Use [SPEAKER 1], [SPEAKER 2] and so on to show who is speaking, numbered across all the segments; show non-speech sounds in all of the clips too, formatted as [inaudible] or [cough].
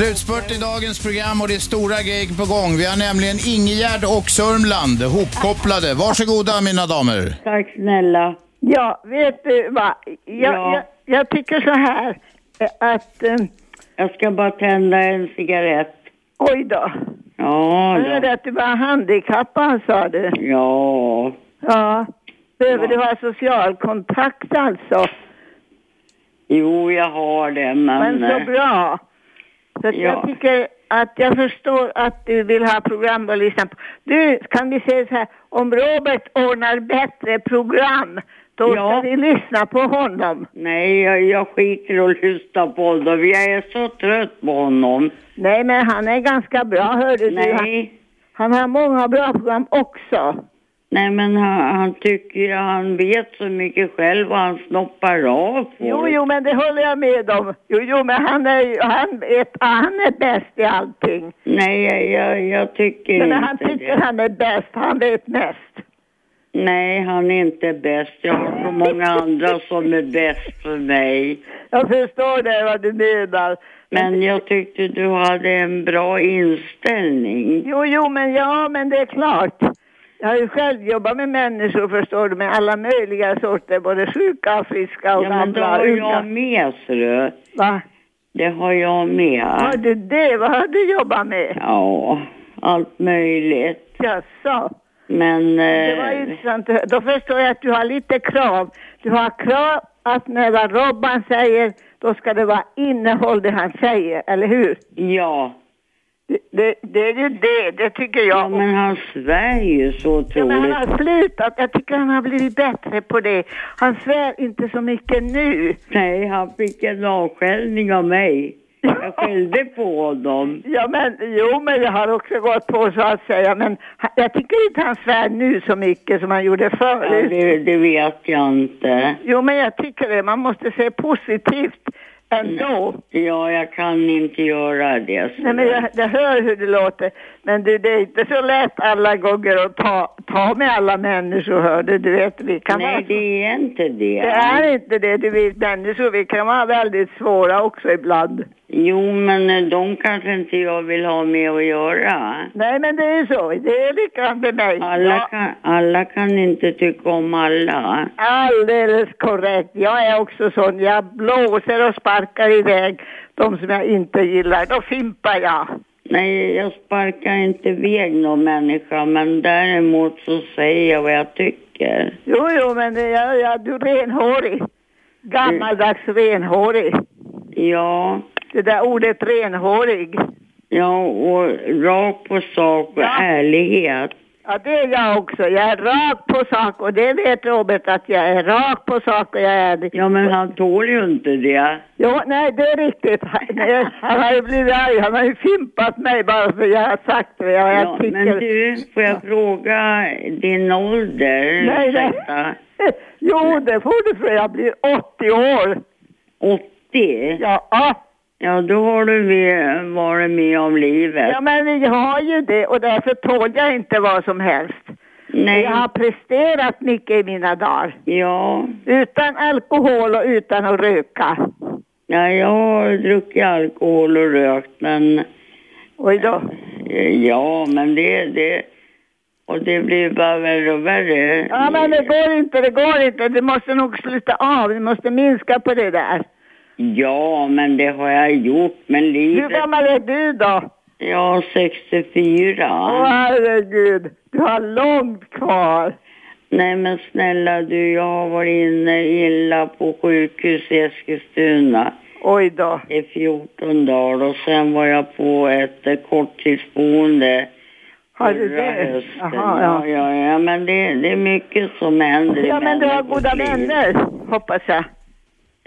[SPEAKER 1] Slutspurt i dagens program och det är stora grejer på gång. Vi har nämligen Ingegärd och Sörmland hopkopplade. Varsågoda mina damer.
[SPEAKER 2] Tack snälla.
[SPEAKER 3] Ja, vet du vad? Jag,
[SPEAKER 2] Ja.
[SPEAKER 3] jag, jag tycker så här eh, att... eh,
[SPEAKER 2] Jag ska bara tända en cigarett.
[SPEAKER 3] Oj då.
[SPEAKER 2] Ja,
[SPEAKER 3] Jag hörde
[SPEAKER 2] då.
[SPEAKER 3] att du var handikappad, sa du.
[SPEAKER 2] Ja.
[SPEAKER 3] Ja. Behöver
[SPEAKER 2] Ja.
[SPEAKER 3] du ha social kontakt alltså?
[SPEAKER 2] Jo, jag har det,
[SPEAKER 3] Men
[SPEAKER 2] men...
[SPEAKER 3] så
[SPEAKER 2] eh,
[SPEAKER 3] bra. Så att
[SPEAKER 2] Ja.
[SPEAKER 3] jag tycker att jag förstår att du vill ha program att lyssna på. Du, kan vi säga så här, om Robert ordnar bättre program, då
[SPEAKER 2] Ja.
[SPEAKER 3] ska vi lyssna på honom.
[SPEAKER 2] Nej, jag, jag skiter i att lyssna på honom. Jag är så trött på honom.
[SPEAKER 3] Nej, men han är ganska bra, hörde du. Han,
[SPEAKER 2] Nej,
[SPEAKER 3] han har många bra program också.
[SPEAKER 2] nej men han, han tycker han vet så mycket själv och han snoppar av folk.
[SPEAKER 3] Jo, jo, men det håller jag med om. Jo, jo, men han är, ju- han är, han är bäst i allting.
[SPEAKER 2] Nej, jag, jag, jag tycker
[SPEAKER 3] Men
[SPEAKER 2] inte
[SPEAKER 3] han tycker
[SPEAKER 2] det.
[SPEAKER 3] han är bäst, han vet mest.
[SPEAKER 2] Nej, han är inte bäst. Jag har så många andra som är bäst för mig.
[SPEAKER 3] Jag förstår det, vad du menar.
[SPEAKER 2] Men jag tyckte du hade en bra inställning.
[SPEAKER 3] Jo, jo, men ja, men det är klart. Jag har ju själv jobbat med människor, förstår du, med alla möjliga sorter, både sjuka, friska och
[SPEAKER 2] Ja, men det
[SPEAKER 3] gamla.
[SPEAKER 2] har jag
[SPEAKER 3] unga.
[SPEAKER 2] med, ser du.
[SPEAKER 3] Va?
[SPEAKER 2] Det har jag
[SPEAKER 3] Har
[SPEAKER 2] med.
[SPEAKER 3] du det? Vad har du jobbat med?
[SPEAKER 2] Ja, allt möjligt.
[SPEAKER 3] Jaså?
[SPEAKER 2] Men...
[SPEAKER 3] Det var
[SPEAKER 2] Eh,
[SPEAKER 3] intressant. Då förstår jag att du har lite krav. Du har krav att när vad Robban säger, då ska det vara innehåll det han säger, eller hur?
[SPEAKER 2] ja.
[SPEAKER 3] Det, det, det är ju det, det tycker jag.
[SPEAKER 2] ja, men han svär ju så
[SPEAKER 3] Ja, men han
[SPEAKER 2] otroligt.
[SPEAKER 3] har slutat. Jag tycker han har blivit bättre på det. Han svär inte så mycket nu.
[SPEAKER 2] Nej, han fick en avskällning av mig. Jag
[SPEAKER 3] [laughs]
[SPEAKER 2] skällde på honom.
[SPEAKER 3] Ja, men jo, men jag har också gått på så att säga. Men ha- jag tycker inte han svär nu så mycket som han gjorde
[SPEAKER 2] Ja,
[SPEAKER 3] förut.
[SPEAKER 2] det, det vet jag inte.
[SPEAKER 3] Jo, men jag tycker det. Man måste se positivt ändå.
[SPEAKER 2] Ja, jag kan inte göra det. ser
[SPEAKER 3] Nej, men
[SPEAKER 2] du.
[SPEAKER 3] jag, jag hör hur det låter. Men du, det är inte så lätt alla gånger att ta, ta med alla människor, hör du. Du vet, vi kan vara...
[SPEAKER 2] Nej, det är inte det.
[SPEAKER 3] Det är inte det, du vet, människor. Vi kan vara väldigt svåra också ibland.
[SPEAKER 2] Jo, men eh, de kanske inte jag vill ha med att göra.
[SPEAKER 3] Nej, men det är ju så. Det är likadant med mig.
[SPEAKER 2] Alla
[SPEAKER 3] Ja,
[SPEAKER 2] kan, alla kan inte tycka om alla.
[SPEAKER 3] Alldeles korrekt. Jag är också sån. Jag blåser och sparkar iväg de som jag inte gillar. Då fimpar jag.
[SPEAKER 2] Nej, jag sparkar inte iväg någon människa, men däremot så säger jag vad jag tycker.
[SPEAKER 3] Jo, jo, men det- jag, jag, du är renhårig. Gammaldags renhårig.
[SPEAKER 2] Ja,
[SPEAKER 3] Det där ordet renhårig.
[SPEAKER 2] ja och rakt på sak och
[SPEAKER 3] Ja.
[SPEAKER 2] ärlighet.
[SPEAKER 3] Ja, det är jag också. Jag är rak på sak och det vet Robert att jag är rak på sak och jag är...
[SPEAKER 2] Ja, men han tål ju inte det.
[SPEAKER 3] Jo, nej, det är riktigt. [laughs] Han- Han har ju blivit arg. Han har ju fimpat mig bara för jag har sagt det. Jag, jag
[SPEAKER 2] Ja,
[SPEAKER 3] tycker...
[SPEAKER 2] men du, får jag fråga din ålder?
[SPEAKER 3] Nej, nej.
[SPEAKER 2] Ursäkta.
[SPEAKER 3] [laughs] Jo, det får du för jag blir 80 år.
[SPEAKER 2] 80?
[SPEAKER 3] Ja, ja.
[SPEAKER 2] Ja, då har du med- varit med om livet.
[SPEAKER 3] ja, men vi har ju det och därför tål jag inte vad som helst.
[SPEAKER 2] Nej.
[SPEAKER 3] Jag har presterat mycket i mina dagar.
[SPEAKER 2] Ja.
[SPEAKER 3] Utan alkohol och utan att röka.
[SPEAKER 2] ja, jag har druckit alkohol och rökt, men
[SPEAKER 3] Oj då.
[SPEAKER 2] eh, ja, men det, det, och det blir bara värre och värre.
[SPEAKER 3] Ja, men det går inte, det går inte. Du måste nog sluta av. Du måste minska på det där.
[SPEAKER 2] Ja, men det har jag gjort, men
[SPEAKER 3] Hur
[SPEAKER 2] livet...
[SPEAKER 3] gammal är du då?
[SPEAKER 2] Ja, 64.
[SPEAKER 3] Åh, herregud. Du har långt kvar.
[SPEAKER 2] Nej, men snälla du, jag har varit inne illa på sjukhus i Eskilstuna.
[SPEAKER 3] Oj då.
[SPEAKER 2] i 14 dagar och sen var jag på ett eh, korttidsboende
[SPEAKER 3] Har du
[SPEAKER 2] förra
[SPEAKER 3] det?
[SPEAKER 2] hösten.
[SPEAKER 3] Jaha,
[SPEAKER 2] ja. Ja, ja, men det, det är mycket som händer i
[SPEAKER 3] Ja, men du har
[SPEAKER 2] människors
[SPEAKER 3] goda
[SPEAKER 2] liv.
[SPEAKER 3] vänner, hoppas jag.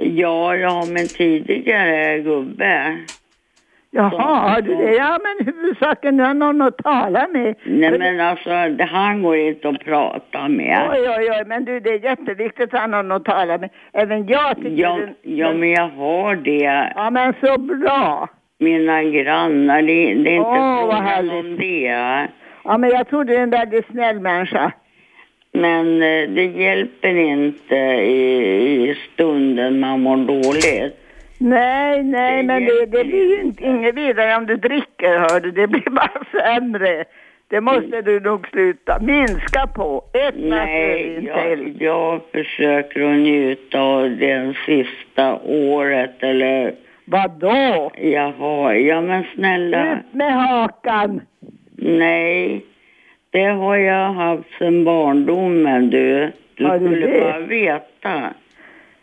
[SPEAKER 2] Ja, ja, men tidigare gubbe.
[SPEAKER 3] Jaha, har du det? Ja, men huvudsaken du har någon att tala med.
[SPEAKER 2] Nej,
[SPEAKER 3] För-
[SPEAKER 2] men alltså, det- han går inte att prata med.
[SPEAKER 3] Oj, oj, oj, men du, det är jätteviktigt att ha någon att tala med. Även jag tycker
[SPEAKER 2] Ja,
[SPEAKER 3] det.
[SPEAKER 2] ja, men jag har det.
[SPEAKER 3] Ja, men så bra.
[SPEAKER 2] Mina grannar, det, det är inte
[SPEAKER 3] Åh, vad
[SPEAKER 2] frågan om
[SPEAKER 3] härligt.
[SPEAKER 2] det.
[SPEAKER 3] Ja, men jag tror du är en väldigt snäll människa.
[SPEAKER 2] Men eh, det hjälper inte i, i stunden man mår dåligt.
[SPEAKER 3] Nej, nej,
[SPEAKER 2] är
[SPEAKER 3] men det, det blir ju inte, inget vidare om du dricker, hör du. Det blir [laughs] bara sämre. Det måste du nog sluta. Minska på. Ett glas
[SPEAKER 2] Nej,
[SPEAKER 3] rödvin till.
[SPEAKER 2] jag, jag försöker att njuta av det sista året eller
[SPEAKER 3] Vadå?
[SPEAKER 2] jaha, ja men snälla,
[SPEAKER 3] Ut med hakan!
[SPEAKER 2] nej. Det har jag haft sedan barndomen du. Du
[SPEAKER 3] Har du
[SPEAKER 2] skulle
[SPEAKER 3] det?
[SPEAKER 2] bara veta.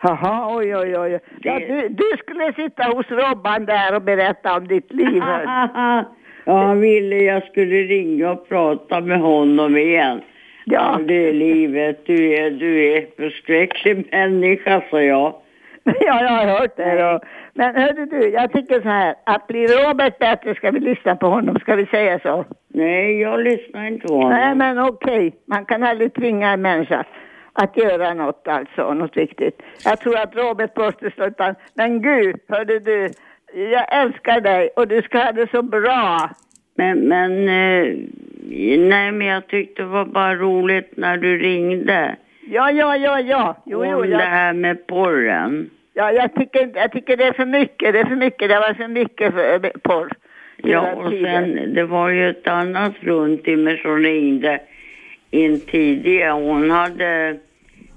[SPEAKER 3] Jaha, oj, oj, oj. Ja,
[SPEAKER 2] Det-
[SPEAKER 3] du, du skulle sitta hos Robban där och berätta om ditt liv. hör.
[SPEAKER 2] [laughs] ja, han ville jag skulle ringa och prata med honom igen.
[SPEAKER 3] Ja, [laughs]
[SPEAKER 2] Det är livet, du är, du är förskräcklig människa, sa jag.
[SPEAKER 3] ja, jag har hört det. Då. Men hörde du, jag tycker så här, att blir Robert bättre ska vi lyssna på honom, ska vi säga så?
[SPEAKER 2] Nej, jag lyssnar inte på honom.
[SPEAKER 3] Nej, men okej. Man kan aldrig tvinga en människa att göra något alltså, något viktigt. Jag tror att Robert måste sluta. Men gud, hörde du, jag älskar dig och du ska ha det så bra.
[SPEAKER 2] Men, men, eh, nej, men jag tyckte det var bara roligt när du ringde.
[SPEAKER 3] Ja, ja, ja, ja. Jo,
[SPEAKER 2] Om
[SPEAKER 3] jo,
[SPEAKER 2] det
[SPEAKER 3] jag,
[SPEAKER 2] här med porren.
[SPEAKER 3] ja, jag, tycker, inte- jag tycker det är för mycket, det är för mycket, det var för mycket för, eh, porr.
[SPEAKER 2] Ja,
[SPEAKER 3] hela
[SPEAKER 2] och
[SPEAKER 3] tiden.
[SPEAKER 2] sen, det var ju ett annat fruntimmer som ringde in tidigare. Hon hade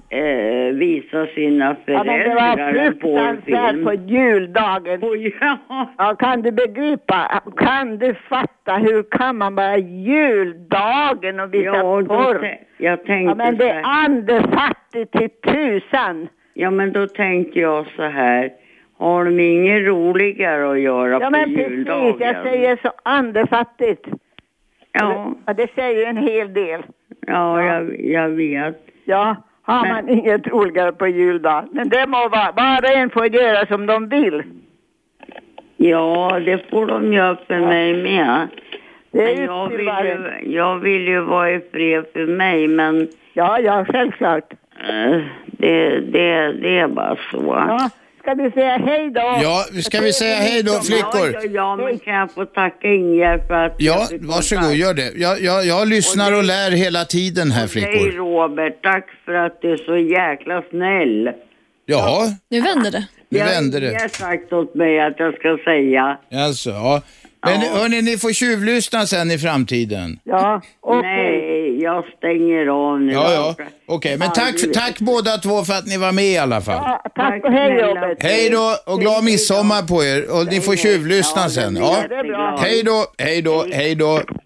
[SPEAKER 2] eh, visat sina
[SPEAKER 3] Ja, men det var
[SPEAKER 2] föräldrar en
[SPEAKER 3] fruktansvärt
[SPEAKER 2] porrfilm.
[SPEAKER 3] på juldagen.
[SPEAKER 2] Och [laughs] ja,
[SPEAKER 3] Ja, kan du begripa? Kan du fatta? Hur kan man bara juldagen och [laughs] visa
[SPEAKER 2] ja då,
[SPEAKER 3] porr?
[SPEAKER 2] tä- jag
[SPEAKER 3] Ja,
[SPEAKER 2] tänkte
[SPEAKER 3] men
[SPEAKER 2] så
[SPEAKER 3] det är
[SPEAKER 2] här.
[SPEAKER 3] andefattigt till tusan.
[SPEAKER 2] Ja, men då tänkte jag så här. Har de inget roligare att göra
[SPEAKER 3] Ja,
[SPEAKER 2] på
[SPEAKER 3] men precis.
[SPEAKER 2] juldagen?
[SPEAKER 3] Jag säger så andefattigt.
[SPEAKER 2] Ja,
[SPEAKER 3] Ja, det säger ju en hel del.
[SPEAKER 2] ja jag, jag vet.
[SPEAKER 3] Ja, har
[SPEAKER 2] Men-
[SPEAKER 3] man inget roligare på juldagen. Men det må vara, var och en får göra som de vill.
[SPEAKER 2] Ja, det får de göra för mig med.
[SPEAKER 3] Det
[SPEAKER 2] Men
[SPEAKER 3] är
[SPEAKER 2] jag
[SPEAKER 3] upp till
[SPEAKER 2] vill,
[SPEAKER 3] varje.
[SPEAKER 2] ju, jag vill ju vara i fred för mig, men
[SPEAKER 3] Ja, ja, självklart.
[SPEAKER 2] eh, det, det, det är bara så.
[SPEAKER 3] Ja, ska vi säga hej då?
[SPEAKER 1] Ja, ska vi säga hej då, flickor?
[SPEAKER 2] Ja, ja, ja, men kan jag få tacka Ingegerd för att
[SPEAKER 1] Ja,
[SPEAKER 2] jag fick
[SPEAKER 1] varsågod,
[SPEAKER 2] kontakt?
[SPEAKER 1] gör det. Jag, jag, jag lyssnar och lär hela tiden här,
[SPEAKER 2] Hej
[SPEAKER 1] flickor.
[SPEAKER 2] Robert, tack för att du är så jäkla snäll.
[SPEAKER 1] Jaha,
[SPEAKER 4] Nu vänder det.
[SPEAKER 1] nu vänder det.
[SPEAKER 2] Jag har sagt åt mig att jag ska säga.
[SPEAKER 1] Alltså, ja. Men
[SPEAKER 2] Ja.
[SPEAKER 1] hörni, ni får tjuvlyssna sen i framtiden.
[SPEAKER 3] Ja, okej.
[SPEAKER 2] Nej, jag stänger av nu.
[SPEAKER 1] Ja, ja. Okej, men tack, för, tack båda två för att ni var med i alla fall.
[SPEAKER 3] Ja, tack och hej
[SPEAKER 2] snälla.
[SPEAKER 3] Robert.
[SPEAKER 1] Hej då och glad midsommar på er och ni får tjuvlyssna sen. Ja.
[SPEAKER 3] det är bra.
[SPEAKER 1] Hej då, hej då, hej då.